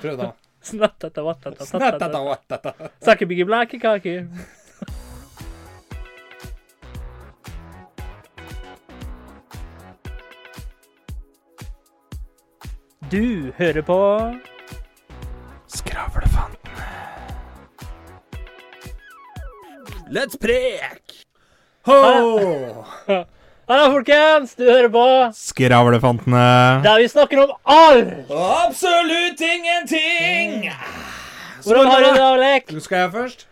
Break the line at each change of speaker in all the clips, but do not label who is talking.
Prøv, da.
Snattata, wattata, tattata.
Snattata, wattata.
Sakke bigge blake kake. Du hører på
Skravlefantene. Let's prek! Ho!
Hallo, folkens! Du hører på
Skravlefantene.
der vi snakker om alt!
Absolutt ingenting!
Mm. Hvordan har du det, Alek?
Skal jeg først?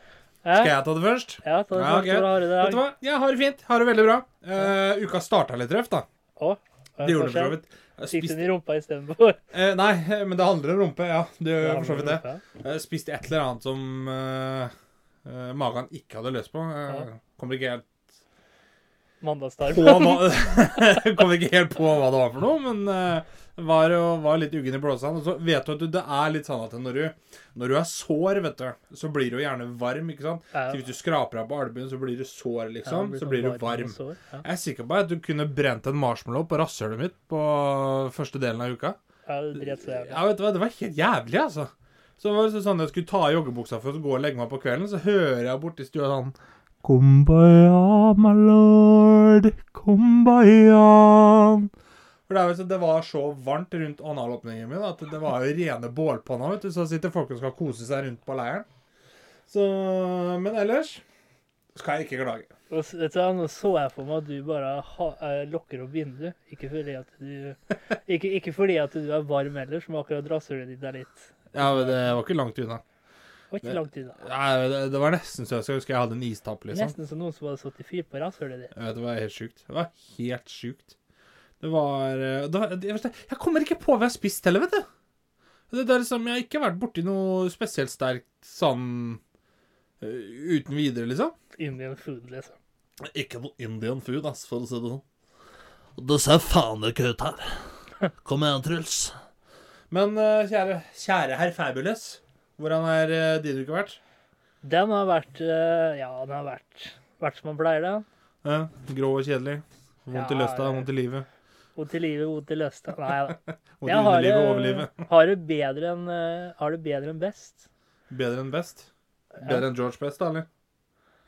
Ja,
Skal jeg ta det først?
ja ta det
Ja,
snart.
ok.
Hvordan har du det?
Vet du hva? Jeg har det fint. Har det veldig bra. Eh, uka starta litt røft, da.
Å,
Det gjorde det for så vidt. Jeg
Sitter den
Spiste,
i rumpa istedenfor?
eh, nei, men det handler om rumpe. Ja, det gjør for så vidt det. Jeg Eh, spiste et eller annet som eh, eh, magen ikke hadde løst på. Jeg kommer ikke helt på
Mandagstarm.
hva, kommer ikke helt på hva det var for noe, men eh, var, jo- var litt uggen i blåsene. Og så vet du at du, det er litt sånn at når du, når du er sår, vet du, så blir du gjerne varm, ikke sant?
Ja.
Så hvis du skraper deg på albuen, så blir du sår,
Ja,
liksom.
blir
så
sånn
blir du
varm og
varm.
sår. Ja.
Jeg er sikker på at du kunne brent en marshmallow på rasshølet mitt på første delen av uka.
Ja, det dret så jævlig.
Ja, vet du hva, Det var helt jævlig, altså. Så det var liksom sånn Jeg skulle ta av joggebuksa for å gå og legge meg på kvelden, så hører jeg borti stua sånn Kumbaya, my lord, kumbaya. For det, er jo så, det var så varmt rundt analåpningen min at det var jo rene bålpanna. vet du, Så sitter folk og skal kose seg rundt på leiren. Så, Men ellers skal jeg ikke klage.
Og s- Vet du, hva, Nå så jeg for meg at du bare ha, eh, lukker opp vinduet. Ikke fordi at du ikke, ikke fordi at du er varm ellers, men akkurat rasshølet ditt er litt
Ja, men Det var ikke langt unna.
Det var ikke langt unna.
Nei, det, det var nesten så jeg skulle ønske jeg hadde en istapp, liksom.
Nesten som noen som hadde satt i fyr på rasshølet ditt.
Jeg vet, det var helt sjukt. Det var helt sjukt. Det var eh, da, det, jeg vet ikke- Jeg kommer ikke på hva jeg har spist heller, vet du. Det, det er liksom, jeg har ikke vært borti noe spesielt sterkt sånn eh, uten videre, liksom.
Indian food, liksom.
Ikke noe Indian food, ass, for å si det sånn. Det ser faen ikke ut her. Kom igjen, Truls.
Men eh, kjære, kjære herr Fabulous, hvordan er eh, din uke vært?
Den har vært eh, Ja, den har vært, vært som man pleier, da.
Eh, grå og kjedelig. Vondt i
Ja,
løsta,
det-
vondt i livet.
Vondt i livet, vondt i løsta. Nei da.
Vondt i
Jeg har eh,
underlivet og overlivet.
det, har det bedre enn eh, har det bedre enn best.
Bedre enn best. Bedre enn George Best, da, eller?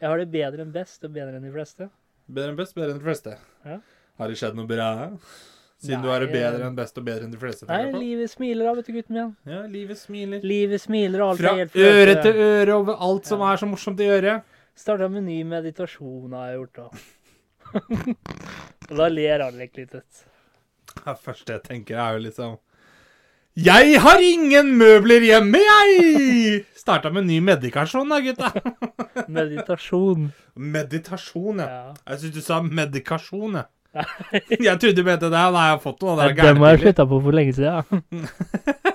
Jeg har det bedre enn best, og bedre enn de fleste.
Bedre enn best, bedre enn de fleste.
Ja.
Har det skjedd noe bra? Siden du
Nei,
er det bedre
eh,
enn best og bedre enn de fleste.
Nei,
tenker jeg på.
livet smiler da, vet du, gutten min.
Ja, livet smiler.
Livet smiler, og alt
Fra
er helt eh.
øre
fløte.
til øre over alt som er så morsomt i øret.
Starta med ny meditasjon har jeg gjort, da. og da ler Alek litt. Vet.
Det første jeg tenker, er jo liksom Jeg har ingen møbler hjemme, jeg! Starta med ny medikasjon, da, gutta.
du. Meditasjon.
Meditasjon, ja.
Ja.
Jeg syns du sa medikasjon, jeg. Jeg trodde du mente det. Nei, jeg har fått noe. Det er
Det må
gærne
jeg
piller.
slutta på for lenge siden.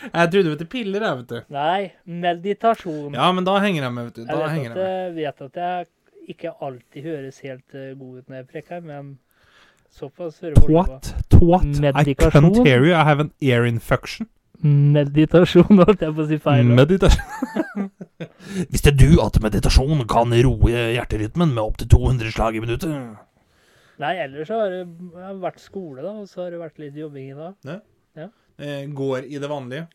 Jeg trodde du mente piller, jeg, vet du.
Nei, meditasjon.
Ja, men da henger jeg med, vet du. Da
jeg vet
henger
at,
jeg med.
jeg vet at jeg ikke alltid høres helt eh, god ut når jeg preker, men såpass hører folk på.
Twat.
I can't hear
you. I have an ear infection.
Meditasjon, holdt jeg på å si feil. da.
Meditasjon.
Visste du at meditasjon kan roe hjerterytmen med opptil 200 slag i minuttet?
Nei, ellers så har det jeg har vært skole, da, og så har det vært litt jobbing i dag.
Eh, Går i det vanlige.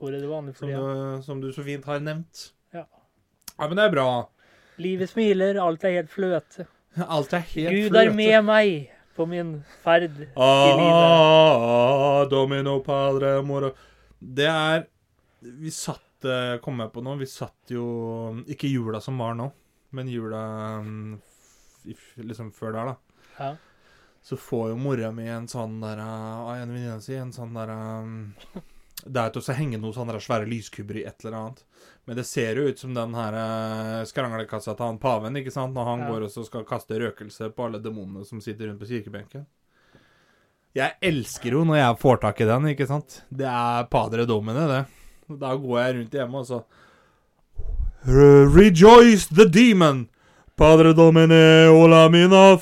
Hvor er det vanlig for
Som,
tida?
du, som du så fint har nevnt.
Ja.
Ja, men det er bra.
Livet smiler, alt er helt fløte.
Alt er helt
Gud er med meg på min ferd. i
Ah, domino padre moro. Det er Vi satt eh, Kom jeg på nå? Vi satt jo Ikke jula som var nå, men jula mm, f- i f- liksom før der, da.
Ja.
så får jo mora mi en sånn der uh, av en venninne si, en sånn der um, Det er til å henge noen sånne der svære lyskubber i et eller annet. Men det ser jo ut som den her uh, skranglekassa til han paven, ikke sant? Når han
Ja.
går og så skal kaste røkelse på alle demonene som sitter rundt på kirkebenken. Jeg elsker jo når jeg får tak i den, ikke sant? Det er padre domine, det. Og Da går jeg rundt hjemme og så Rejoice the demon!
Padre domine ola mina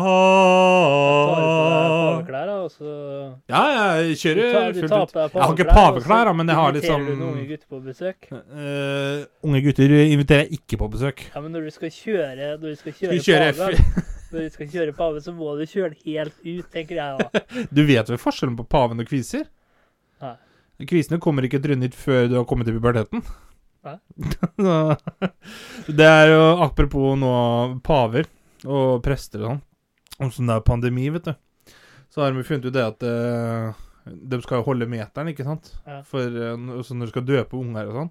Tar du på deg
fasota
paveklær, da, og så
Ja, jeg
Du tar,
kjører
du
fullt
tar
ut.
på deg
Jeg har ikke
paveklær, og så
paveklær, da, men jeg har litt
inviterer du
sånn-
noen unge gutter på besøk.
Eh, unge gutter inviterer jeg ikke på besøk.
Ja, men når du skal kjøre Når du skal
Skal
kjøre,
vi kjøre
pave,
F-
når du skal kjøre pave, så må du kjøre den helt ut, tenker jeg da.
Du vet vel forskjellen på paven og kviser?
Nei.
Kvisene kommer ikke trynet før du har kommet i puberteten.
Nei.
Så- det er jo apropos nå paver og prester og sånn. Om sånn det er pandemi, vet du. Så har de funnet ut det at eh, de skal jo holde meteren, ikke sant?
Ja.
For eh, n- så når du skal døpe unger og sånn.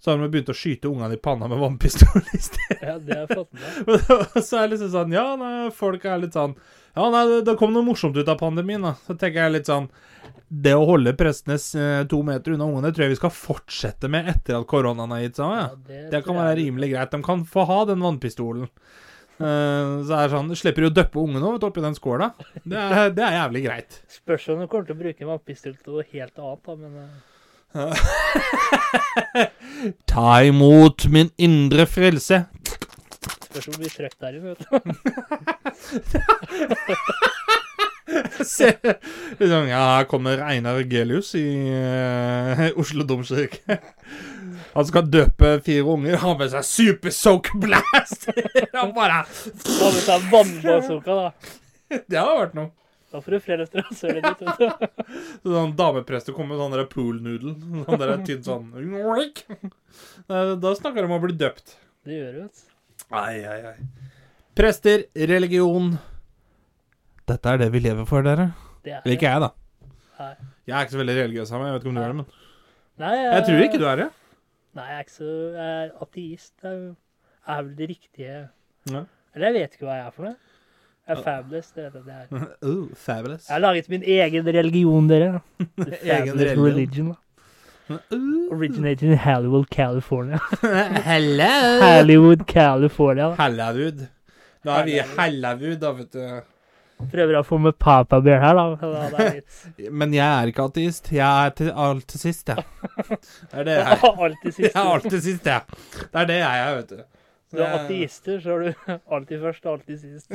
Så har de begynt å skyte ungene i panna med vannpistol i stedet.
Ja, det har jeg fått med meg.
Og så er det liksom sånn Ja, nei, folk er litt sånn Ja, nei, det, det kom noe morsomt ut av pandemien, da. Så tenker jeg litt sånn Det å holde prestene eh, to meter unna ungene tror jeg vi skal fortsette med etter at koronaen er gitt seg. Ja. Det Ah, kan
tror
være
jeg-
rimelig greit. De kan få ha den vannpistolen. Eh, så er det sånn Slipper jo å døppe ungene over oppi den skåla. Det er, det er jævlig greit.
Spørs om du kommer til å bruke vannpistol til noe helt annet, da, men eh,
Ta imot min indre frelse.
spørs hvor mye trøkk det er i, vet du.
Se, liksom, ja, her kommer Einar Gelius i eh, Oslo domkirke. Han skal døpe fire unger, har med seg Super Soak Blast! Han bare
Ta med deg vannbazooka, da.
Det hadde vært noe.
Da får du flere etter rasshølet ditt, vet du.
Sånn dameprester kommer med sånn der pool noodle. Sånn der tynn sånn Oink! Eh, Da snakker de om å bli døpt.
Det gjør du, vet du.
Ai, ai, ai. Prester, religion Dette er det vi lever for, dere.
Det er
Eller ikke jeg, da.
Nei.
Jeg er ikke så veldig religiøs av meg. Jeg vet ikke om du er det, men
Nei,
Jeg tror ikke du er det.
Nei, jeg er ikke så Jeg er ateist. Det er, jo- er vel det riktige
Ja.
Eller jeg vet ikke hva jeg er for noe. Jeg er fabulous, det er det det er.
Oh, fabulous.
Jeg har laget min egen religion, dere.
Egen
The fabulous
religion.
religion. da. Originated in Hollywood, California.
Hello!
Hollywood, California. da.
Hallavud. Da er vi i Hallavud, da, vet du.
Prøver å få med papabjørn her, da. da det er litt.
Men jeg er ikke ateist. Jeg er til alt til sist, jeg. Det er det jeg er.
Alltid
Jeg er
sist.
alt til sist, jeg. Det er det jeg er, vet du.
Du er ateister, så er du alltid først og alltid sist.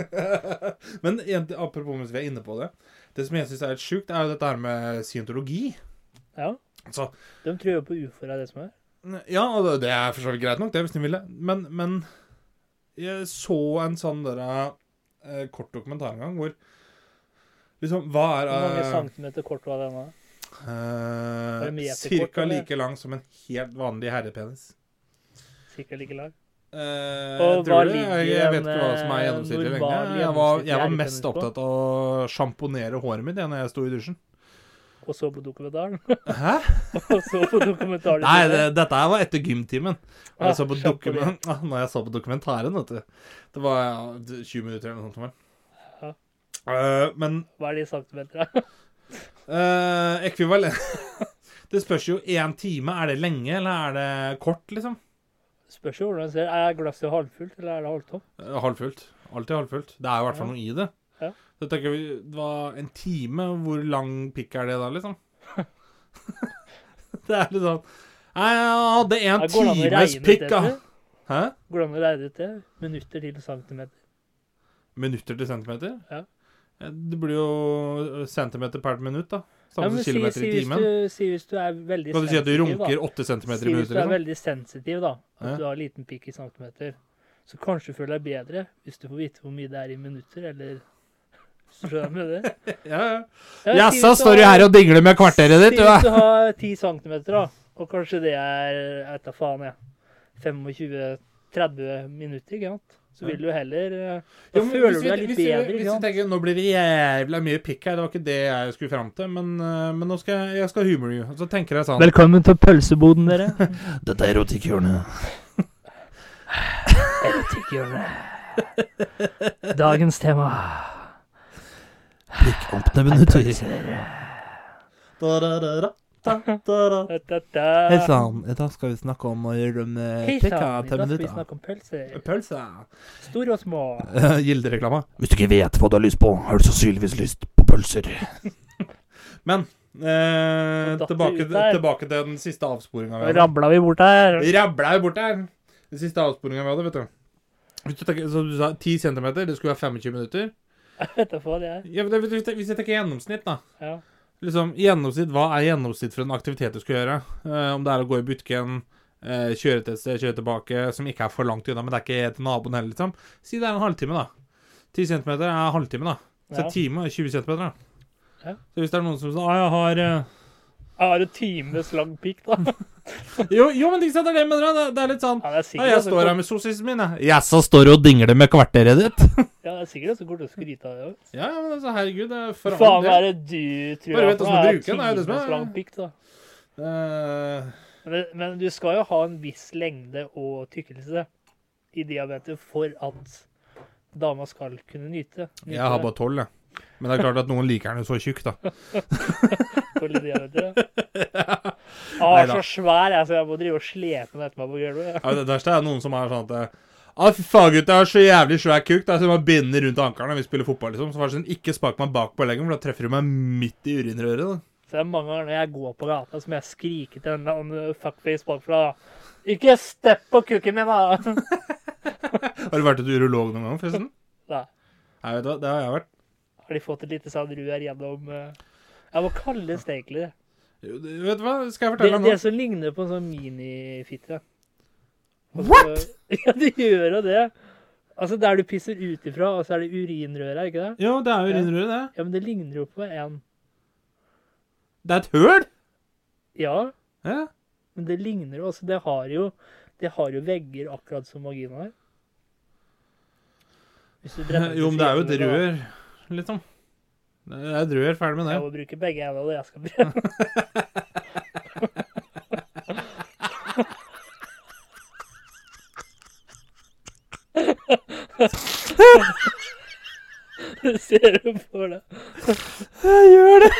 Men en, ting- apropos mens vi er inne på det. Det som jeg syns er helt sjukt, er jo dette her med scientologi.
Ja.
Altså,
De tror jo på ufoer, er det som er.
Ja, og det- det er for så vidt greit nok, det, hvis de ville. Men, men jeg så en sånn derre eh, kort dokumentar en gang, hvor Liksom, hva er
Hvor mange
eh,
centimeter kort var den da?
eh,
det meterkort,
Cirka
eller?
like lang som en helt vanlig herrepenis.
Sikkert like lang.
Eh,
Og
jeg tror
hva
det.
ligger
Jeg, jeg
en,
vet ikke hva som er
eh,
gjennomsnittlig
normal
lengde. Jeg var, jeg var
gjennomsnittlig
mest
herrepenis på?
opptatt av å sjamponere håret mitt jeg, når jeg sto i dusjen.
Og så på dokumentaren.
Hæ?
Og så på dokumentaren.
Nei, det, dette her var etter gymtimen. Når
Ah,
jeg, så på
kjapt på det.
dokumen- Ah, når jeg så på dokumentaren, vet du. Det var ja, 20 minutter eller noe sånt.
Ja.
Vel. Eh, men
Hva er de centimeterne?
uh, ekvivalent Det spørs jo én time. Er det lenge, eller er det kort, liksom?
Spørs jo hvordan du ser. Er glasset halvfullt, eller er det halvtomt?
Eh, Halvfullt. Alltid halvfullt. Det er jo i hvert fall noe i det.
Ja.
Så tenker vi, det var en time, hvor lang pikk er det da, liksom? det er litt sånn Nei, jeg hadde en
Ja, går det an å
times
regne ut
pikk, da.
dette?
Hæ?
Går det an å regne ut det? Minutter til centimeter.
Minutter til centimeter?
Ja.
Eh, Det blir jo eh, centimeter per minutt, da. Samme
Ja, men
som
si-
kilometer
si
i
hvis
timen.
du- Si hvis du er veldig
Kan du si at du
sensitiv, da.
runker åtte centimeter i
Si hvis
minuttet?
du er
Liksom?
veldig sensitiv, da, at
Ja.
du har liten pikk i centimeter, så kanskje du føler deg bedre hvis du får vite hvor mye det er i minutter, eller Hvis du skjønner med det?
Ja, ja.
Ja, si
Jaså,
hvis
står du
har-
her og dingler med kvarteret ditt, du,
Si hvis du
da?
har 10 centimeter, da, og kanskje det er Jeg vet da faen, jeg. 25-30 minutter, ikke sant? Så vil du heller eh, Da
Jo, men
føler
hvis
du
vi-
deg litt
hvis vi-
bedre,
Hvis
ikke
du
sant?
tenker nå blir det jævla mye pikk her, det var ikke det jeg skulle fram til, men, eh, men nå skal jeg, jeg skal humor you. Og så tenker jeg sånn
Velkommen til pølseboden, dere.
Dette er erotikkhjørnet.
Erotikkhjørnet. Dagens tema.
Prikkåpne minutter.
Hei
Hei sann, i dag skal vi snakke om å gjøre eh, med
Hei sann, i dag skal vi snakke om
Eh,
pølser.
Pølse.
Store og små.
Gildereklama.
Hvis du ikke vet hva du har lyst på, har du sannsynligvis lyst på pølser.
Eh,
Datt
tilbake,
ut der.
tilbake til den siste avsporinga vi hadde.
Ramla vi bort her?
Rabla jo bort her. Den siste avsporinga vi hadde, vet du. Hvis du tenker, som du sa, 10 cm, det skulle være 25 minutter.
Vet da faen, jeg.
Ja, men det- hvis jeg- hvis jeg tenker gjennomsnitt, da.
Ja.
Liksom, gjennomsnitt, Hva er gjennomsnitt for en aktivitet du skal gjøre? Eh, om det er å gå i butikken, eh, kjøre til et sted, kjøre tilbake, som ikke er for langt unna, men det er ikke til naboen heller, liksom. Si det er en halvtime, da. 10 cm er en halvtime, da. Så
Ja.
en time er 20 cm, da.
Ja.
Så hvis det er noen som sier ah, jeg har eh,
Jeg har en times lang pikk, da.
jo, jo, men ikke sant, det er det jeg mener. da. Det, det er litt sånn
Ja, det er
Ja,
sikkert
jeg
altså
står her
kort-
med sosisen min, jeg. Jaså, står du og dingler med kvarteret ditt?
ja, det er sikkert også kort å skryte av det òg.
Ja, ja, men altså, herregud, det er for all
Faen,
del.
hva er det du tror
Bare
at
vet hvordan du
er
bruker den, det er jo det som er-
times lang pikk, da?
Eh,
Men, men du skal jo ha en viss lengde og tykkelse i diabetes for at dama skal kunne nyte. nyte
Jeg har
det.
bare tolv, jeg. Men det er klart at noen liker den jo så tjukk, da.
For litt diabetes.
Nei
Ah,
da.
så svær jeg, så jeg må drive og slepe den etter meg på gulvet.
Ja, det verste er noen som er sånn at eh, Ah, fy faen, gutta, jeg har så jævlig svær kuk. Det er som å binde rundt ankelen når vi spiller fotball, liksom. Så var det sånn, ikke spark meg bak på leggen, for da treffer du meg midt i urinrøret. da.
Så det er mange ganger når jeg går på gata, så må jeg skrike til en eller annen fuckface bakfra. Ikke stepp på kukken min, da!
Har du vært et urolog noen gang, forresten?
Nei.
Nei, vet du hva, det har jeg vært.
Har de fått et lite sånn rør gjennom eh, Ja, hva kalles det egentlig?
Jo, det- Vet du hva, skal jeg
Det,
fortelle deg
det
nå?
som ligner på en sånn minifitte. Altså-
What?!
Ja, de gjør jo det. Altså, der du pisser ut ifra, og så er det urinrøret, ikke det?
Jo, det er urinrøret, det.
Ja, men det ligner jo på en
Det er et høl!
Ja,
Ja.
men det ligner jo altså, Det har jo, det har jo vegger akkurat som vaginaer. Hvis du bretter ut
Jo, men det er jo et
fjeset, da.
rør, liksom. Det er et rør, ferdig med det.
Jeg må bruke begge hendene når jeg skal brenne. Ser du for deg
Jeg gjør det!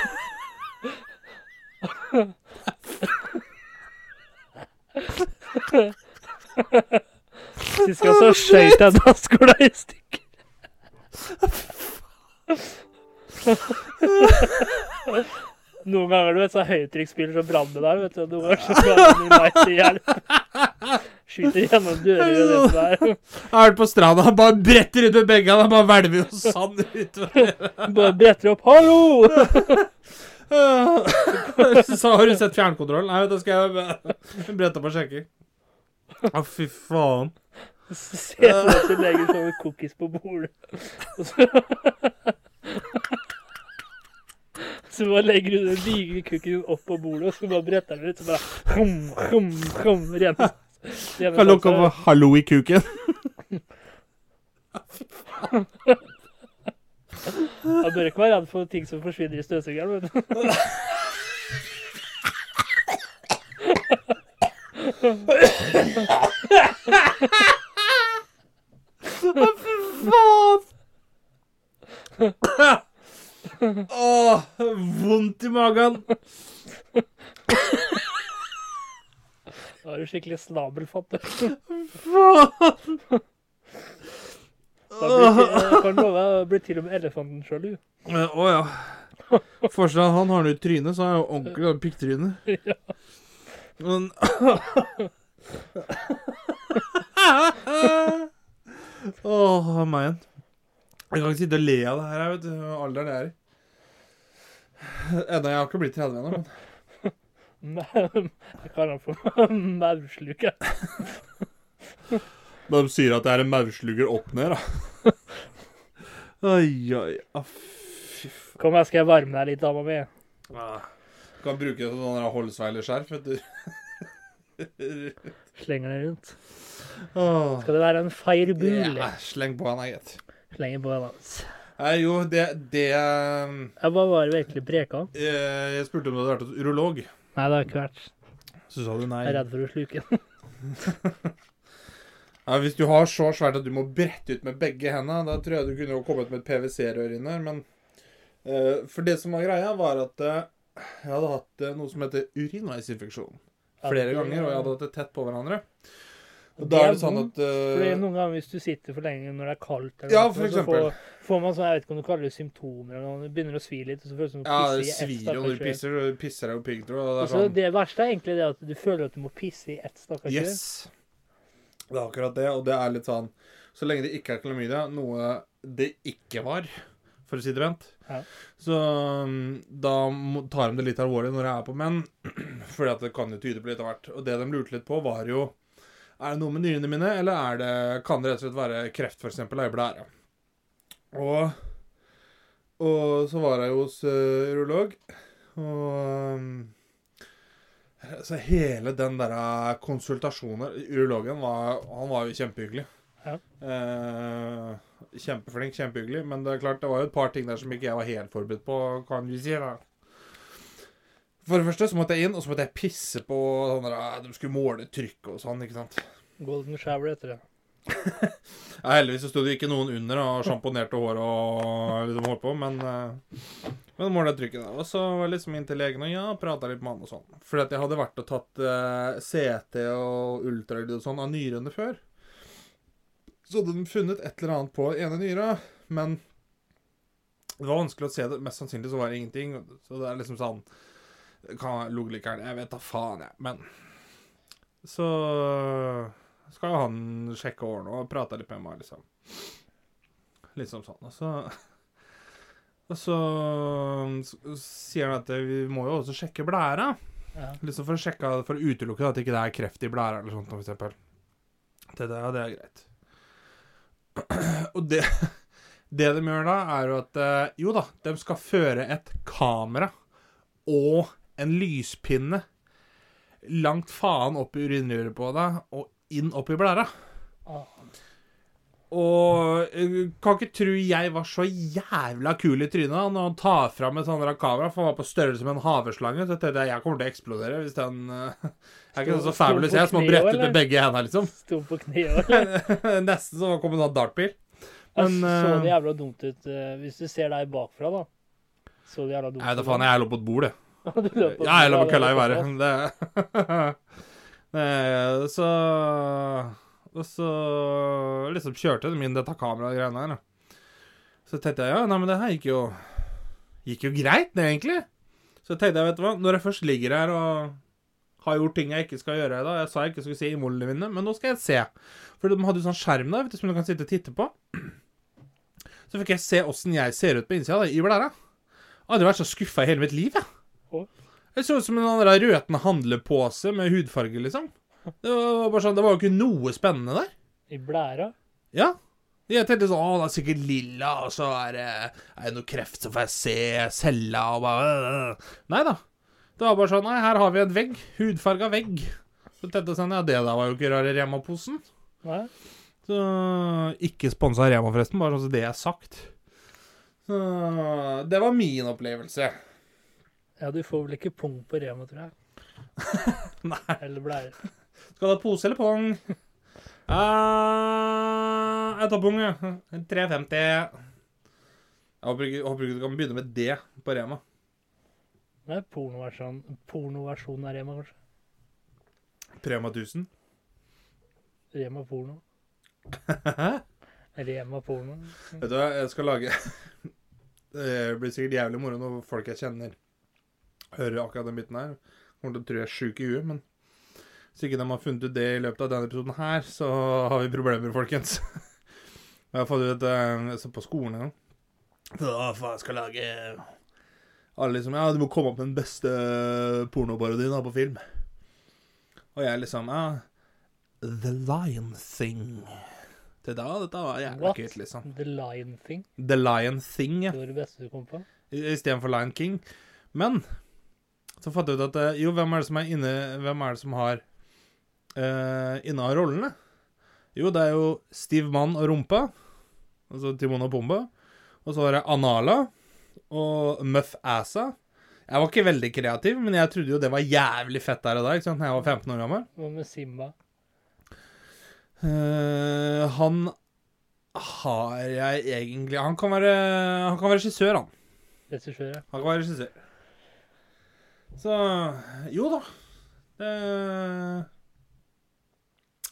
Sist gang så skjøt jeg dasskola i stykker. Noen ganger du vet, så er høytrykksspiller som brann der. vet du. Noen ganger så brann den i vei til hjelp. Skyter gjennom dører og det som er.
Jeg har vært på stranda, bare bretter ut med begge hendene, bare hvelver sånn jo sand utover.
Bare bretter opp 'hallo'!
Så har du sett fjernkontrollen? Nei, da skal jeg brette opp og sjekke. Å, fy faen.
Så ser jeg for meg legger sånne cookies på bordet. Og så Så bare legger du den digre cookien opp på bordet, og så bare bretter den ut, så bare hum, hum, hum, renner. renner
Kan lukke
sånn,
opp hallo i kuken.
så- Man bør ikke være redd for ting som forsvinner i støvsugeren, vet du.
Å, fy faen. Åh, vondt i magen.
Da er du skikkelig snabelfatt. du.
Faen.
Da blir til, jeg kan love deg, da blir til og med elefanten sjalu.
Men, Eh, Å ja. Forskjellen er at han har noe i trynet, så har jeg jo ordentlig sånn pikktryne. Men Åh, meg igjen. Jeg kan ikke sitte og le av det her, jeg vet du. Alderen jeg er i. Enda jeg har ikke blitt 30 ennå, men
Jeg kan ha for maursluke.
De sier at jeg er en maurslugger opp ned, da. Oi, oi, ah, fy faen.
Kom her, skal jeg varme deg litt, dama mi.
Kan bruke det som sånn der holdsveilerskjerf, vet du.
Slenger den rundt.
Åh.
Skal det være en fireball?
Ja, sleng på han, da, gitt.
Slenger på den, altså.
Nei, jo, det, det eh,
Jeg bare var virkelig preka.
Jeg spurte om du hadde vært hos urolog.
Nei, det har ikke vært.
Så sa du nei.
Jeg er redd for å sluke den.
Ja, hvis du har så svært at du må brette ut med begge hendene, da tror jeg du kunne jo kommet med et PwC-rør inn her, men eh, For det som var greia, var at eh, jeg hadde hatt eh, noe som heter urinveisinfeksjon flere ganger, og jeg hadde hatt det tett på hverandre. Og da er det sånn at
Fordi
eh,
Noen ganger hvis du sitter for lenge når det er kaldt, eller
Ja,
noe,
for
så
eksempel.
får, får man sånn, jeg vet ikke om du kaller det symptomer eller noe, det begynner å svi litt, og så føles det som du
Ja, det
pisser i Altså, ett
svir jo når
stakkars
du
rør.
pisser, og du pisser deg jo piggtråd, og det
Og
er
så
sånn
det verste er egentlig det at du føler at du må pisse i ett stakkars rør.
Yes. Det er akkurat det, og det er litt sånn Så lenge det ikke er klamydia, noe det ikke var, for å si det pent.
Ja.
Så mm, da må- tar de det litt alvorlig når det er på menn, fordi at det kan jo tyde på litt av hvert. Og det de lurte litt på, var jo Er det noe med nyrene mine, eller er det, kan det rett og slett være kreft, f.eks. i blæra? Og, og så var jeg jo hos eh, urolog, og mm, så hele den der eh, konsultasjonen Urologen var, han var jo kjempehyggelig.
Ja.
Eh, kjempeflink, kjempehyggelig. Men det er klart, det var jo et par ting der som ikke jeg var helt forberedt på, kan vi si. da. For det første så måtte jeg inn, og så måtte jeg pisse på sånn der, eh, De skulle måle trykket og sånn, ikke sant.
Golden shower etter det.
Ja, heldigvis så sto det ikke noen under da, og sjamponerte håret og liksom holdt på, men eh, Men målet er trykket, da. Og så var jeg liksom inn til legen og ja, prata litt med han og sånn. Fordi at jeg hadde vært og tatt eh, CT og ultralyd og sånn av nyrene før. Så hadde de funnet et eller annet på ene nyra, men det var vanskelig å se det. Mest sannsynlig så var det ingenting. Så det er liksom sånn det Kan ha ligget like gjerne. Jeg vet da faen, jeg. Men så skal jo han sjekke årene og prate litt med meg, liksom. Liksom sånn. Og så Og så um, s- sier han at vi må jo også sjekke blæra.
Ja.
Liksom for å sjekke For å utelukke at ikke det er kreft i blæra eller sånt, for eksempel. Det, der, ja, det er greit. Og det Det de gjør da, er jo at eh, Jo da, de skal føre et kamera og en lyspinne langt faen opp i urinrøret på deg og inn opp i blæra.
Ah.
Og eh, kan ikke tro jeg var så jævla kul i trynet da, når han tar fram et sånt der kamera, for han var på størrelse med en haveslange. Så tenkte jeg jeg kommer til å eksplodere hvis den eh, Jeg er ikke sånn så
Sto- sto
fabulous,
på
jeg, som har
kne
brett
også,
ut med
eller?
begge hendene, liksom.
Sto på kne og
Nesten som å komme en sånn dartbil.
Ja,
Men,
Så det
eh,
jævla dumt ut eh, hvis du ser deg bakfra, da. Så det jævla dumt
Nei, da faen, jeg lå på et bord, jeg.
Du løper på
Ja, jeg la meg
kne,
kølla i
da,
været. Det, det, så Og så liksom kjørte de inn dette kameragreiene her. da. Så tenkte jeg ja, nei, men det her gikk jo Gikk jo greit, det, egentlig. Så tenkte jeg, vet du hva, når jeg først ligger her og har gjort ting jeg ikke skal gjøre i dag Jeg sa jeg ikke skulle se imolene mine, men nå skal jeg se. For de hadde jo sånn skjerm der vet du, som du kan sitte og titte på. Så fikk jeg se åssen jeg ser ut på innsida da, i blæra. Aldri vært så skuffa i hele mitt liv, jeg. Jeg så ut som en annen røtende handlepose med hudfarge, liksom. Det var, bare sånn, det var jo ikke noe spennende der.
I blæra?
Ja. Jeg tenkte sånn Å, det er sikkert lilla, og så er det, er det noe kreft, så får jeg se cella, og bare øh. Nei da. Det var bare sånn Nei, her har vi en vegg. Hudfarga vegg. Så tenkte jeg sånn Ja, det der var jo ikke rare Rema-posen.
Nei?
Så Ikke sponsa Rema, forresten, bare sånn så det er sagt. Så Det var min opplevelse.
Ja, du får vel ikke pung på Rema, tror jeg.
Nei.
Eller blære.
Skal du ha pose eller pong? Eh, jeg tar pong, ja. 3,50. Jeg håper ikke, håper ikke du kan begynne med det på Rema.
Nei, pornoversjon pornoversjon av Rema, kanskje.
Prema 1000.
Rema porno. Rema porno.
Vet du hva, jeg skal lage Det blir sikkert jævlig moro når folk jeg kjenner hører akkurat den biten her. Kommer til å tro jeg er sjuk i huet, men hvis ikke de har funnet ut det i løpet av denne episoden her, så har vi problemer, folkens. Jeg har fått ut eh, jeg så på skolen en gang. Så da faen jeg skal lage Alle liksom Ja, du må komme opp med den beste pornoparodien da, på film. Og jeg liksom Ja. The Lion Thing. Det da, dette var jævlig
What?
kult, liksom.
The Lion Thing.
The Lion Thing, ja.
Det var det beste du kom på.
I- Istedenfor Lion King. Men så fant jeg ut at eh, jo, hvem er det som er inne Hvem er det som har eh, inne av rollene? Jo, det er jo Stiv Mann og Rumpa. Altså Timon og Pumba. Og så var det Anala og Muff Assa. Jeg var ikke veldig kreativ, men jeg trodde jo det var jævlig fett der og da. ikke sant? Når jeg var 15 år gammel.
Hva med Simba?
Eh, han har jeg egentlig Han kan være, han kan være regissør, han.
Regissør, ja.
Han kan være regissør. Så Jo da.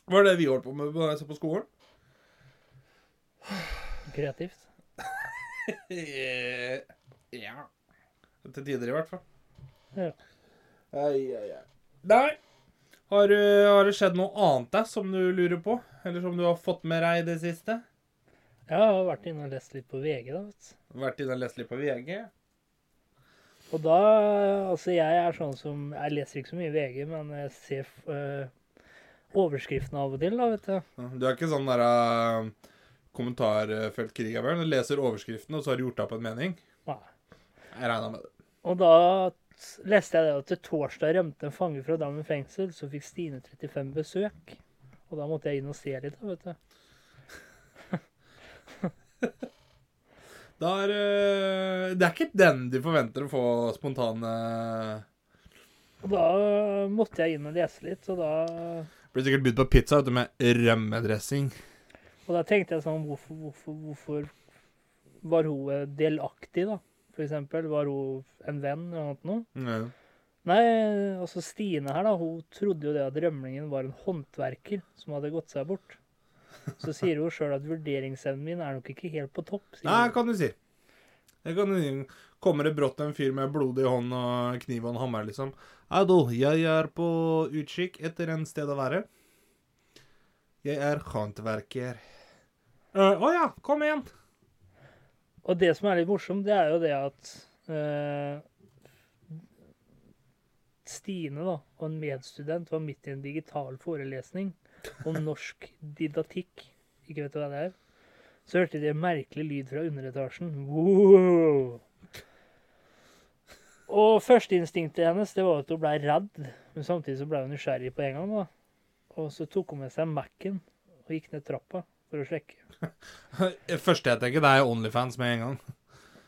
Det var det vi holdt på med da jeg så på skolen.
Kreativt.
Eh, ja. Til tider, i hvert fall.
Ja.
Ai, ai, ai. Nei. Har, du, har det skjedd noe annet der som du lurer på? Eller som du har fått med deg i det siste?
Jeg har vært inne og lest litt på VG, da. vet du.
Vært inne og lest litt på VG?
Og da Altså, jeg er sånn som Jeg leser ikke så mye VG, men jeg ser eh, overskriften av og til, da, vet du.
Du er ikke sånn der uh, kommentarfeltkrig, Bjørn? Du leser overskriften, og så har du gjort deg opp en mening?
Nei.
Jeg regna med det.
Og da t- leste jeg det at til torsdag rømte en fange fra Drammen fengsel, så fikk Stine 35 besøk. Og da måtte jeg inn og se litt, da, vet du.
Det er, eh, det er ikke den de forventer å få eh, spontane
Og da måtte jeg inn og lese litt, og da
Blir sikkert budt på pizza vet du, med rømmedressing.
Og da tenkte jeg sånn, hvorfor, hvorfor, hvorfor var hun eh, delaktig, da? For eksempel, var hun en venn eller noe? sånt noe?
Ja.
Nei, altså Stine her, da, hun trodde jo det at rømlingen var en håndverker som hadde gått seg bort. Så sier hun sjøl at vurderingsevnen min er nok ikke helt på topp. Sier
Nei,
hun.
kan du si. Det kan du si. Kommer det brått en fyr med blodig hånd og kniv og en hammer, liksom. Hei, du. Jeg er på utkikk etter en sted å være. Jeg er håndverker. Eh, Å ja, kom igjen.
Og det som er litt morsomt, det er jo det at eh, Stine da, og en medstudent var midt i en digital forelesning om norsk didaktikk. Ikke vet du hva det er. Så hørte de en merkelig lyd fra underetasjen. Wow! Og førsteinstinktet hennes det var at hun ble redd, men samtidig så ble hun nysgjerrig på en gang. da. Og så tok hun med seg Mac-en og gikk ned trappa for å sjekke.
Det første jeg tenker, det er Onlyfans med en gang.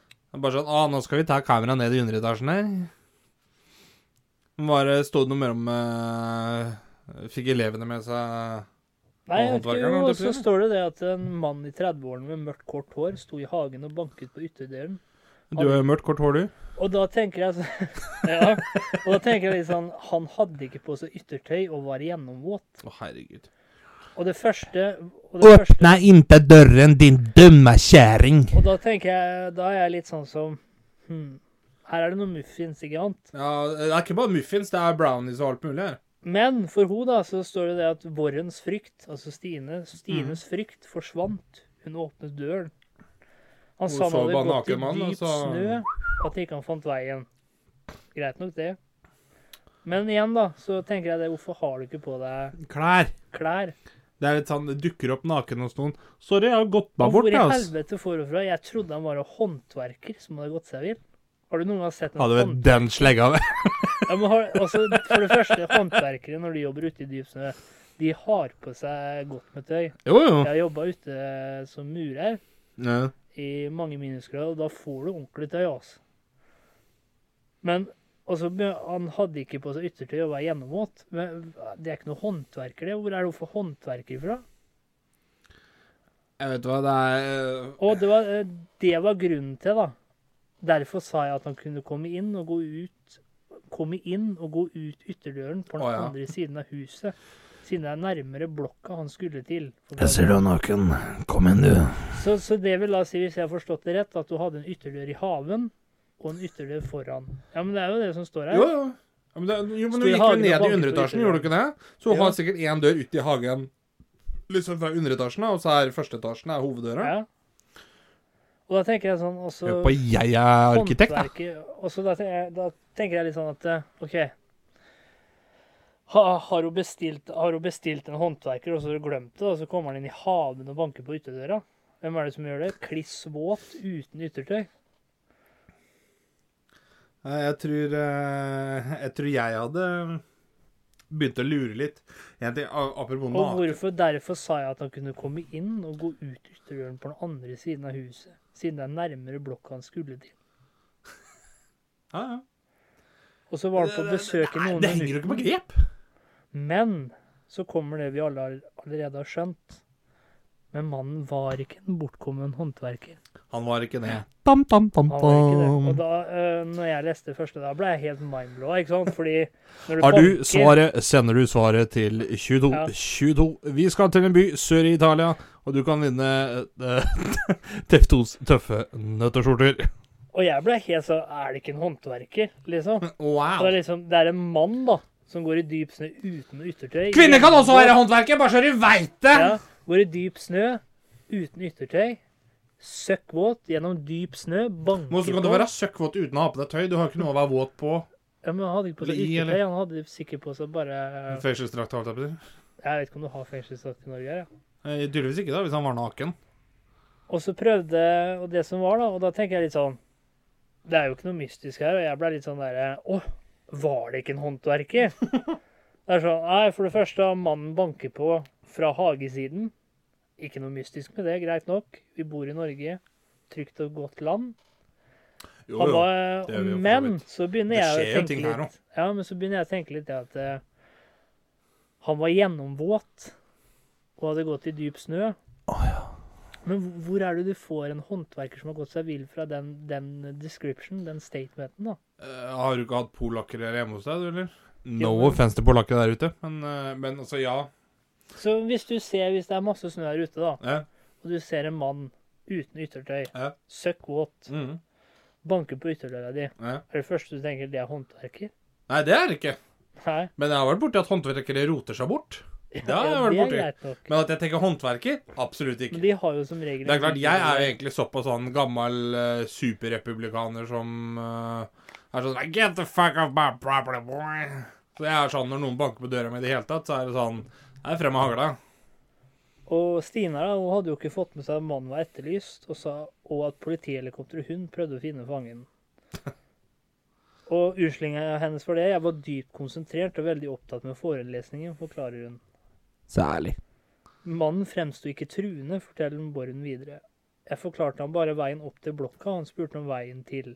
Det er Bare sånn Å, nå skal vi ta kameraet ned i underetasjen her. Bare sto det noe mer om eh, Fikk elevene med seg eh,
Nei, jeg vet
Håndverkeren, holdt
ikke,
jeg
jo,
på å
så
si.
står det det at en mann i 30-årene med mørkt, kort hår sto i hagen og banket på ytterdelen.
Du har jo mørkt kort hår, du.
Og da tenker jeg så- ja, og da tenker jeg litt sånn Han hadde ikke på seg yttertøy og var gjennomvåt.
Å, herregud.
Og det første og, det første,
inte døren, din dumme kjerring.
og da tenker jeg Da er jeg litt sånn som hmm, Her er det noe muffins, ikke sant?
Ja, det er ikke bare muffins, det er brownies og alt mulig her.
Men for hun da, så står det det at Vårens frykt, altså Stine, Stines frykt, forsvant. Hun åpnet døren. Han
Hun
sa han
så
hadde
bare
gått i
naken mann, og
dyp
så-
snø, at ikke han fant veien. Greit nok, det. Men igjen, da, så tenker jeg det, hvorfor har du ikke på deg
Klær.
klær?
Det er litt sånn, det dukker opp naken hos noen. Sorry, jeg har gått meg
Og
bort,
hvor i
jeg, altså.
helvete får du fra? Jeg trodde han var en håndverker som hadde gått seg vill. Har du noen gang sett en
Hadde vel
hånd-
den slegga der.
Ja, men har, altså, For det første, håndverkere når de jobber ute i dyp snø, de har på seg godt med tøy.
Jo, jo.
Jeg har jobba ute som murer
Ja.
i mange minusgrader, og da får du ordentlig tøy, altså. Men altså, men han hadde ikke på seg yttertøy og var gjennomvåt. Men Det er ikke noe håndverker, det. Hvor er det hun får håndverker fra?
Jeg vet hva, det er eh,
Og det var, eh, det var grunnen til, da. Derfor sa jeg at han kunne komme inn og gå ut komme inn og gå ut ytterdøren på den
Å, ja.
andre siden av huset. Siden det er nærmere blokka han skulle til.
deg naken. Kom igjen, du.
Så, så det vil da si, hvis jeg har forstått det rett, at du hadde en ytterdør i haven og en ytterdør foran. Ja, men det er jo det som står her.
Jo, jo. Ja, men det, jo, men
Sto
du
i
gikk jo
hagen og
ned i
banket på
underetasjen,
ytterdøren.
gjorde du ikke det? Så hun
liksom Ja.
har sikkert én dør ut i hagen, liksom fra underetasjen, da, og så er førsteetasjen er hoveddøra.
Ja. Og da tenker jeg sånn også,
Hør på jeg er arkitekt, da.
håndverket- Og så da, tenker jeg- da tenker jeg litt sånn at eh, OK ha, har, hun bestilt, har hun bestilt en håndverker, og så har hun glemt det, og så kommer han inn i haven og banker på ytterdøra? Hvem er det som gjør det? Kliss våt, uten yttertøy?
Nei, Jeg tror, eh, jeg tror jeg hadde begynt å lure litt. En ting, a- apropos
Og
naken
hvorfor derfor sa jeg at han kunne komme inn og gå ut ytterdøren på den andre siden av huset? Siden det er nærmere blokka han skulle til.
ja, ja.
Og så var han på besøk i
Nei,
noen
Det henger jo ikke på
minutter.
grep!
Men så kommer det vi alle har- allerede har skjønt. Men mannen var ikke en bortkommen håndverker.
Han var ikke det.
Tam, tam, tam,
Han var ikke det. Og da øh, når jeg leste det første, da ble jeg helt mindblow, ikke sant? Fordi når
Har du
banker-
svaret, sender du svaret til 22.
Ja.
22. Vi skal til en by sør i Italia, og du kan vinne eh, TV2s tøffe nøtteskjorter.
Og jeg ble helt sånn Er det ikke en håndverker, liksom? Det
Wow.
er liksom Det er en mann, da. som går i dyp snø uten yttertøy.
Kvinner kan også være håndverker, bare så du veit det!
Ja, går i dyp snø uten yttertøy. Søkkvåt gjennom dyp snø. Banker
Men Hvordan kan du være søkkvåt uten å ha på deg tøy? Du har ikke noe å være våt på.
Ja, men Han hadde ikke på seg
Li,
yttertøy.
eller?
Han hadde sikkert på seg bare
Fengselsdrakt, holdt jeg på å si.
Jeg vet ikke om du har fengselsdrakt i Norge her, ja.
Eh, Tydeligvis ikke, da, hvis han var naken.
Og så prøvde og det som var, da. Og da tenker jeg litt sånn Det er jo ikke noe mystisk her. Og jeg ble litt sånn derre Å, var det ikke en håndverker? det er sånn Nei, for det første, mannen banker på fra hagesiden. Ikke noe mystisk med det, greit nok. Vi bor i Norge. Trygt og godt land.
Jo,
Han
jo.
var-
det er vi jo for så
men
vidt.
så begynner
Det
jeg
skjer
å
jo
tenke
ting her
litt Ja, men så begynner jeg å tenke litt det at eh, han var gjennomvåt og hadde gått i dyp snø. Men hvor- hvor er det du får en håndverker som har gått seg vill fra den, den description, den statementen, da?
Eh, har du ikke hatt polakker hjemme hos deg, du, eller? No
Jo, men-
offense til polakker der ute, men, eh, men altså, ja.
Så hvis du ser, hvis det er masse snø her ute, da,
Ja.
og du ser en mann uten yttertøy,
Ja.
søkk våt,
Mhm.
banker på ytterdøra di,
Ja.
er det første du tenker, det er håndverker?
Nei, det er det ikke.
Nei.
Men jeg har vært borti at håndverkere roter seg bort. Det har jeg
Ja,
vært
det er
borti.
greit nok.
Men at jeg tenker håndverker? Absolutt
Men
ikke.
de har jo som regel
Det er klart, Jeg er jo egentlig såpass sånn gammel eh, superrepublikaner som eh, er sånn Get the fuck off my property, boy! Så jeg er sånn, Når noen banker på døra mi i det hele tatt, så er det sånn Nei, frem med hagla.
Og Stina da, hun hadde jo ikke fått med seg at mannen var etterlyst, og, sa, og at politihelikopteret hun prøvde å finne fangen. Og unnskyldninga hennes for det, jeg var dypt konsentrert og veldig opptatt med forelesningen, forklarer hun.
Særlig.
Mannen fremsto ikke truende, forteller Borgen videre. Jeg forklarte ham bare veien opp til blokka, og han spurte om veien til.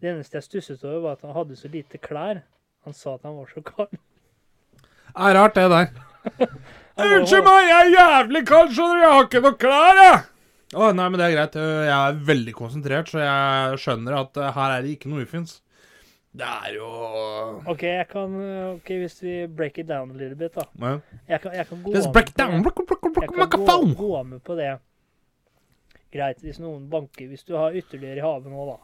Det eneste jeg stusset over, var at han hadde så lite klær. Han sa at han var så kald.
Det er rart, det der.
Han var-
Unnskyld meg, jeg er jævlig kald, skjønner du. Jeg har ikke noe klær, jeg. Å, nei, men det er greit. Øh, Jeg er veldig konsentrert, så jeg skjønner at øh, her er det ikke noe ufins. Det er jo
OK, jeg kan, ok, hvis vi break it down a little bit, da.
Ja.
Jeg kan, jeg kan gå
Let's
an
break
på det.
down. Bruk, bruk, bruk, bruk,
Jeg
bruk,
kan gå,
phone.
gå med på det. Greit, hvis noen banker Hvis du har ytterligere i havet nå, da.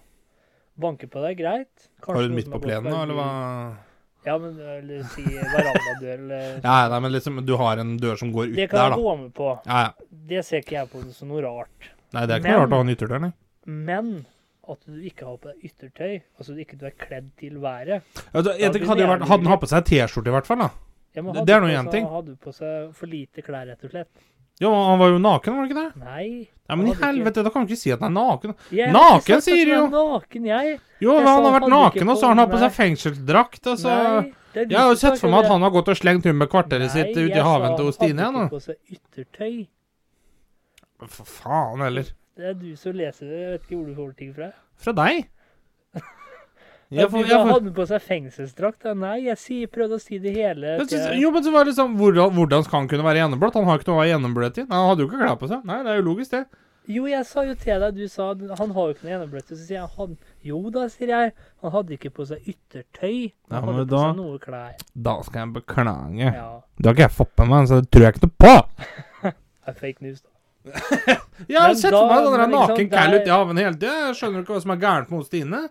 Banker på deg, greit. Kanskje
Har du
noen
den midt
som
på
har gått
plenen, da,
en
eller hva?
bil. Ja, men eller si verandadør, eller
Ja, nei, men liksom, du har en dør som går ut
Det
der,
kan
da.
jeg gå med på.
Ja, ja.
Det ser ikke jeg på som noe rart.
Nei, det er ikke noe
Men-
rart å ha en ytterdør, nei.
Men at du ikke har på deg yttertøy, altså du ikke du er kledd til været
Altså,
Ja,
jeg tenker, hadde, jo
det er
vært,
jævlig
hadde den hatt på seg T-skjorte, i hvert fall, da.
ja, men
Det-
hadde
det er
du
nå
på
én
seg-
ting.
Hadde du på seg for lite klær, rett og slett?
Jo, han var jo naken, var det ikke det?
Nei.
Nei, men i
Han hadde ikke-
helvete, da kan du ikke si at han er naken.
Jeg har ikke
Naken,
sagt at
sier
jeg er
du
Naken, jeg.
Jo,
Jeg
men han
sa
har vært
han hadde ikke
naken, og så har han hatt på
på-
seg fengselsdrakt, og så
Nei, det er du
Altså, Jeg har jo
som
sett for
snakker
meg
det.
at han har gått og slengt hun med kvarteret
Nei,
sitt ute i
jeg
haven
sa
til
han
Stine
hadde
igjen.
ikke på seg yttertøy.
da. For faen heller.
Det er du som leser det. Jeg vet ikke hvor du får ting fra.
Fra deg.
Jeg
Jeg får, jeg får,
hadde han på seg fengselsdrakt. da. Nei, jeg sier, prøvde å si det hele.
jeg
til-
synes, jo, men så var det liksom hvordan, hvordan skal han kunne være gjennomblått? Han har ikke noe å være gjennombløt i. Nei, Han hadde jo ikke klær på seg. Nei, det er jo logisk, det.
Jo, jeg sa jo til deg, du sa han har jo ikke noe gjennombløtt. Så sier jeg han Jo da, sier jeg. Han hadde ikke på seg yttertøy. Han
Ja, men
hadde på
da-
seg noe klær.
Da skal jeg beklage.
Ja.
Det har ikke jeg fått med meg, så det tror jeg ikke noe på.
Det er fake news, da.
Jeg har
Men
sett
da-
for meg den der
men liksom,
naken
der-
Cal ute i haven hele tida. Jeg skjønner ikke hva som er gærent med hos Stine.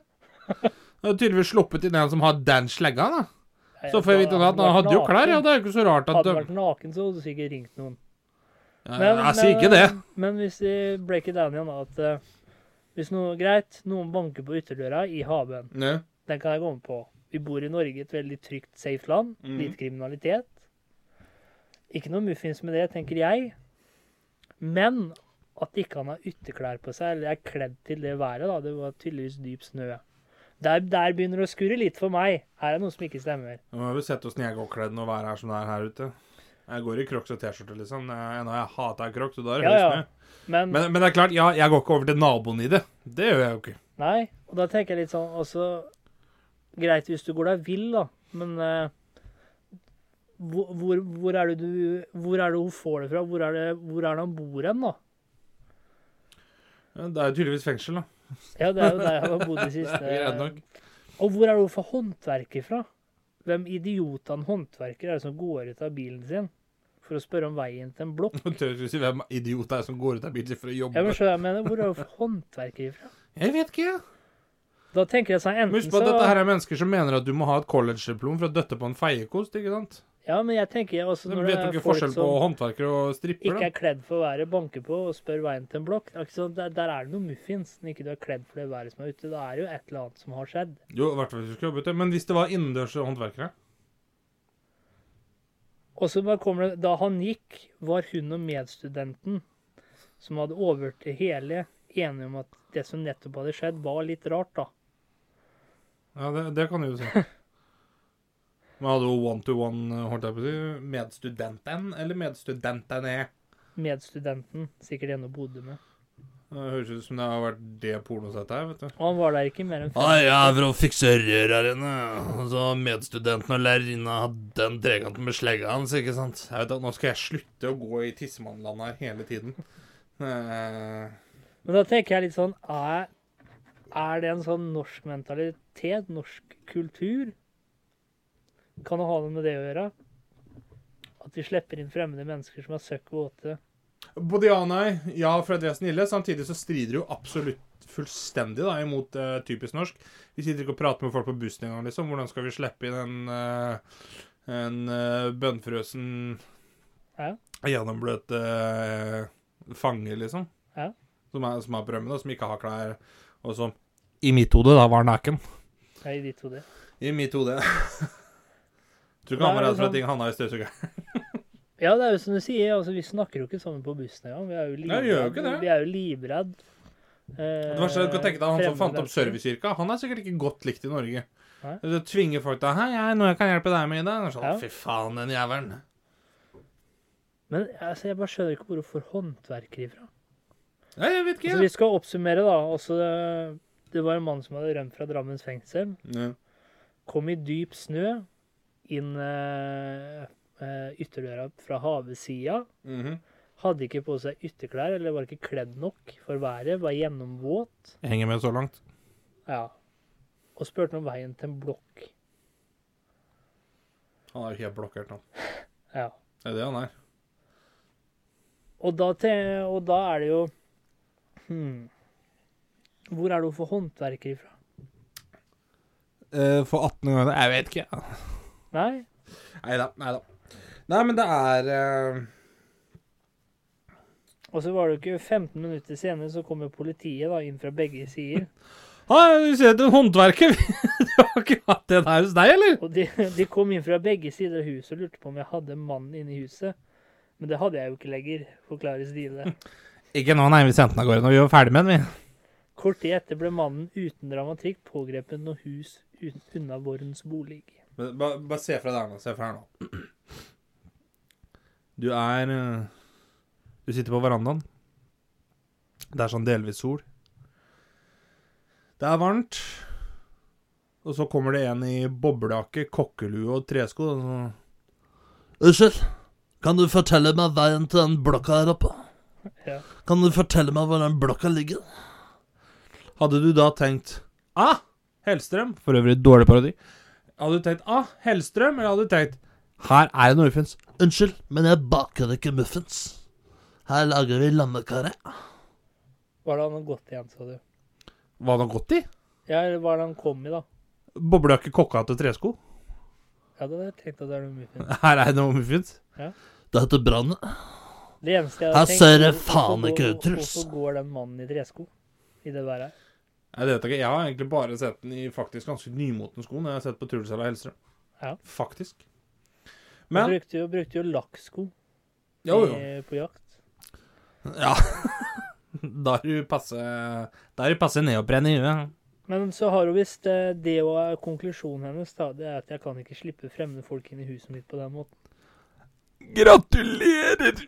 Jeg har tydeligvis sluppet inn en som har den slegga, da. Så får jeg vite at han hadde jo klær, ja. Det er jo ikke så rart at
Hadde
de
vært naken, så hadde du sikkert ringt noen.
Eh, Jeg sier ikke det.
Men hvis vi break it down igjen, da, at eh, hvis noe greit, noen banker på ytterdøra i haven,
Nei.
den kan jeg gå med på. Vi bor i Norge, et veldig trygt, safe land.
Mhm.
Lite kriminalitet. Ikke noe muffins med det, tenker jeg. Men at ikke han har ytterklær på seg, eller er kledd til det været, da. Det var tydeligvis dyp snø. Der, der begynner det å skurre litt for meg. Her er noe som ikke stemmer.
Nå må vi sette åssen jeg går kledd når været er som det er her ute. Jeg går i crocs og T-skjorte, liksom. Jeg, nå har jeg hata crocs, og da er det
Ja, ja.
høy snø.
Men,
Men, men det er klart, ja, jeg går ikke over til naboen i det. Det gjør jeg jo ikke.
Nei, og da tenker jeg litt sånn også Greit hvis du går deg vill, da, men eh, hvor, hvor, hvor er det du Hvor er det hun får det fra? Hvor er det, hvor er det han bor hen, da?
Ja, Det er jo tydeligvis fengsel, da.
Ja, det er jo der han har bodd de
Det er greit
siste
nok.
Og hvor er det hun får håndverker fra? Hvem idiotene håndverker er det som går ut av bilen sin for å spørre om veien til en blokk?
Jeg tør ikke si hvem idiot det er som går ut av bilen sin for å
Jeg
jobbe.
vil skjønne, jeg mener, Hvor er det hun får håndverker fra?
Jeg vet ikke, jeg.
Da tenker jeg sånn
Men Husk
enten
på
så
at dette her er mennesker som mener at du må ha et college-diplom for å døtte på en feiekost, ikke sant?
Ja, men jeg tenker altså
De
når det
vet jo
er
ikke
folk
forskjell på
som
håndverkere og stripper,
ikke
da.
er kledd for været, banker på og spør veien til en blokk det er ikke sånn- der, der er det noe muffins når ikke du er kledd for det været som er ute. Da er det jo et eller annet som har skjedd.
Jo, i hvert fall hvis du skulle jobbe ute. Men hvis det var innendørs håndverkere
Og så bare kommer det Da han gikk, var hun og medstudenten, som hadde overhørt det hele, enige om at det som nettopp hadde skjedd, var litt rart, da.
Ja, det, det kan du jo si. Men hadde hun one-to-one, eh, holdt jeg på å si, med studenten eller med studentene?
Medstudenten, sikkert en hun bodde med.
Det høres ut som det har vært det pornosettet her, vet du.
Og han var der ikke mer enn fem
Nei, jeg er for å fikse rør her inne. Og så har Altså, medstudenten og lærerinna hatt den trekanten med slegga hans, ikke sant?
Jeg vet at Nå skal jeg slutte å gå i tissemannland her hele tiden. Eh,
Men da tenker jeg litt sånn Er, er det en sånn norsk mentalitet, norsk kultur? Kan det ha noe med det å gjøre? At vi slipper inn fremmede mennesker som er søkk våte?
Bodianai, ja, fra dressen ille. Samtidig så strider det jo absolutt fullstendig da, imot eh, typisk norsk. Vi sitter ikke og prater med folk på bussen engang, liksom. Hvordan skal vi slippe inn en, eh, en eh, bønnfrøsen
Ja.
gjennombløt eh, fange, liksom?
Ja.
Som er, som er på rømmen, og som ikke har klær, og sånn. som I mitt hode, da, var naken.
Nei, de to det.
I mitt hode. Tror ikke han
Nei,
var redd for
sånn-
at ting havna i støvsugeren.
Ja, det er jo som du sier. altså Vi snakker jo ikke sammen på bussen engang. Vi er jo
Nei, vi gjør jo ikke
livredd.
det.
Vi er jo livredd. Eh,
Det verste er at du kan tenke deg han som
fremmede
fant opp
mennesker.
servicekirka. Han er sikkert ikke godt likt i Norge.
Nei.
Du tvinger folk til Hei, hei, noe jeg kan hjelpe deg med i dag. Og Sånn,
Ja.
Fy faen, den jævelen.
Men altså, jeg bare skjønner ikke hvor hun får håndverker ifra.
Nei, jeg vet ikke.
Altså, vi skal oppsummere, da. Altså, det- det var en mann som hadde rømt fra Drammens fengsel.
Ja.
Kom i dyp snø inn eh, eh, ytterdøra fra havesida.
Mhm.
Hadde ikke på seg ytterklær, eller var ikke kledd nok for været. Var gjennomvåt.
Jeg henger med så langt.
Ja. Og spurte om veien til en blokk.
Han er jo helt blokkert nå.
Ja.
Det er det han er.
Og da, te, og da er det jo hmm, Hvor er det hun får håndverker ifra?
Eh, for 18 ganger Jeg vet ikke.
Nei,
Nei da. Nei da. Nei, men det er eh,
Og så var det jo ikke 15 minutter senere, så kom jo politiet da inn fra begge sider.
Hei, du ser til håndverket. du har ikke hatt det der hos deg, eller?
Og de, de kom inn fra begge sider av huset og lurte på om jeg hadde mannen inne i huset. Men det hadde jeg jo ikke lenger, forklarer Stine.
Ikke nå, nei. Vi sendte den av gårde når vi var ferdig med den, vi.
Kort tid etter ble mannen uten dramatikk pågrepet når hus ut- unna Vorens bolig.
Bare, bare se fra der nå. Se fra her nå. Du er eh, Du sitter på verandaen. Det er sånn delvis sol. Det er varmt. Og så kommer det en i boblejakke, kokkelue og tresko. Og så,
Unnskyld, kan du fortelle meg veien til den blokka her oppe?
Ja.
Kan du fortelle meg hvor den blokka ligger?
hadde du da tenkt Ah, Hellstrøm. For øvrig dårlig parodi. Hadde du tenkt Ah, Hellstrøm? Eller hadde du tenkt Her er det Norfunns.
Unnskyld, men jeg baker ikke muffins. Her lager vi lammekare.
Var det han hadde gått igjen, sa du?
Hva hadde han gått i?
Ja, eller var det han kom i, da?
Boblejakke, kokkehatt og tresko?
Ja, det hadde jeg tenkt at det er noe muffins.
Her er det noe muffins.
Det heter brannet.
Det eneste jeg
Her
tenkt,
ser det
hvorfor
faen
går-
ikke ut, Truls.
Hvorfor går den mannen i tresko i det været her?
Nei, det vet jeg ikke. Jeg har egentlig bare sett den i faktisk ganske nymoten sko når jeg har sett på Truls eller Hellstrøm.
Ja.
Faktisk.
Han
Men
brukte jo, brukte jo lakksko
Jo, jo.
i- på jakt.
Ja. da er du passe Da er du passe neopren i huet.
Men så har hun visst eh, det og er konklusjonen hennes, da, det er at jeg kan ikke slippe fremmede folk inn i huset mitt på den måten.
Gratulerer!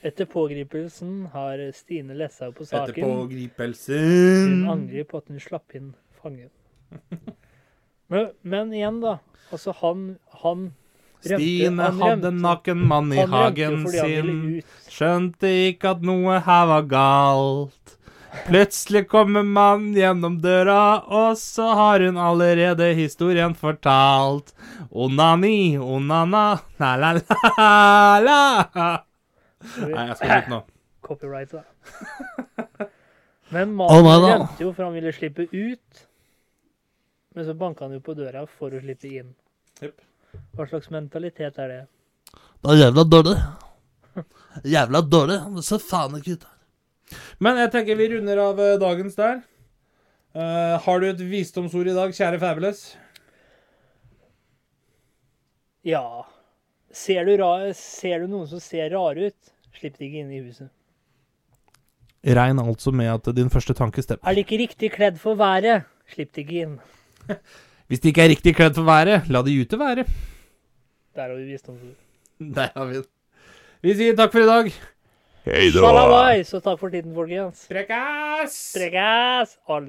Etter pågripelsen har Stine lest seg opp på saken. Hun
Etterpågripelsen
angrer på at hun slapp inn fangen. Men, men igjen, da. Altså, han, han
Stine
han
hadde en
rømte-
naken mann i
han rømte jo
hagen
fordi han
sin.
ville ut.
Skjønte ikke at noe her var galt. Plutselig kommer mannen gjennom døra, og så har hun allerede historien fortalt. Onani, onana, la-la-la-la.
Så vi-
Nei, jeg skal slutte nå.
Copyright, da. Men
Å,
mannen
nei da.
rømte jo, for han ville slippe ut. Men så banka han jo på døra for å slippe inn.
Jepp.
Hva slags mentalitet er det?
Det er jævla dårlig. Jævla dårlig. Men så faen ikke ut.
Men jeg tenker vi runder av eh, dagens der. Eh, har du et visdomsord i dag, kjære Fabulous?
Ja Ser du, ra ser du noen som ser rare ut, slipp de ikke inn i huset.
Regn altså med at din første tanke stemmer.
Er de ikke riktig kledd for været, slipp de ikke inn.
Hvis de ikke er riktig kledd for været, la de ute være.
Der har vi visdomsord.
Der har vi den. Vi sier takk for i dag.
Shalabais, og takk for tiden, folkens.
Prekkas!
Strekkes! Alle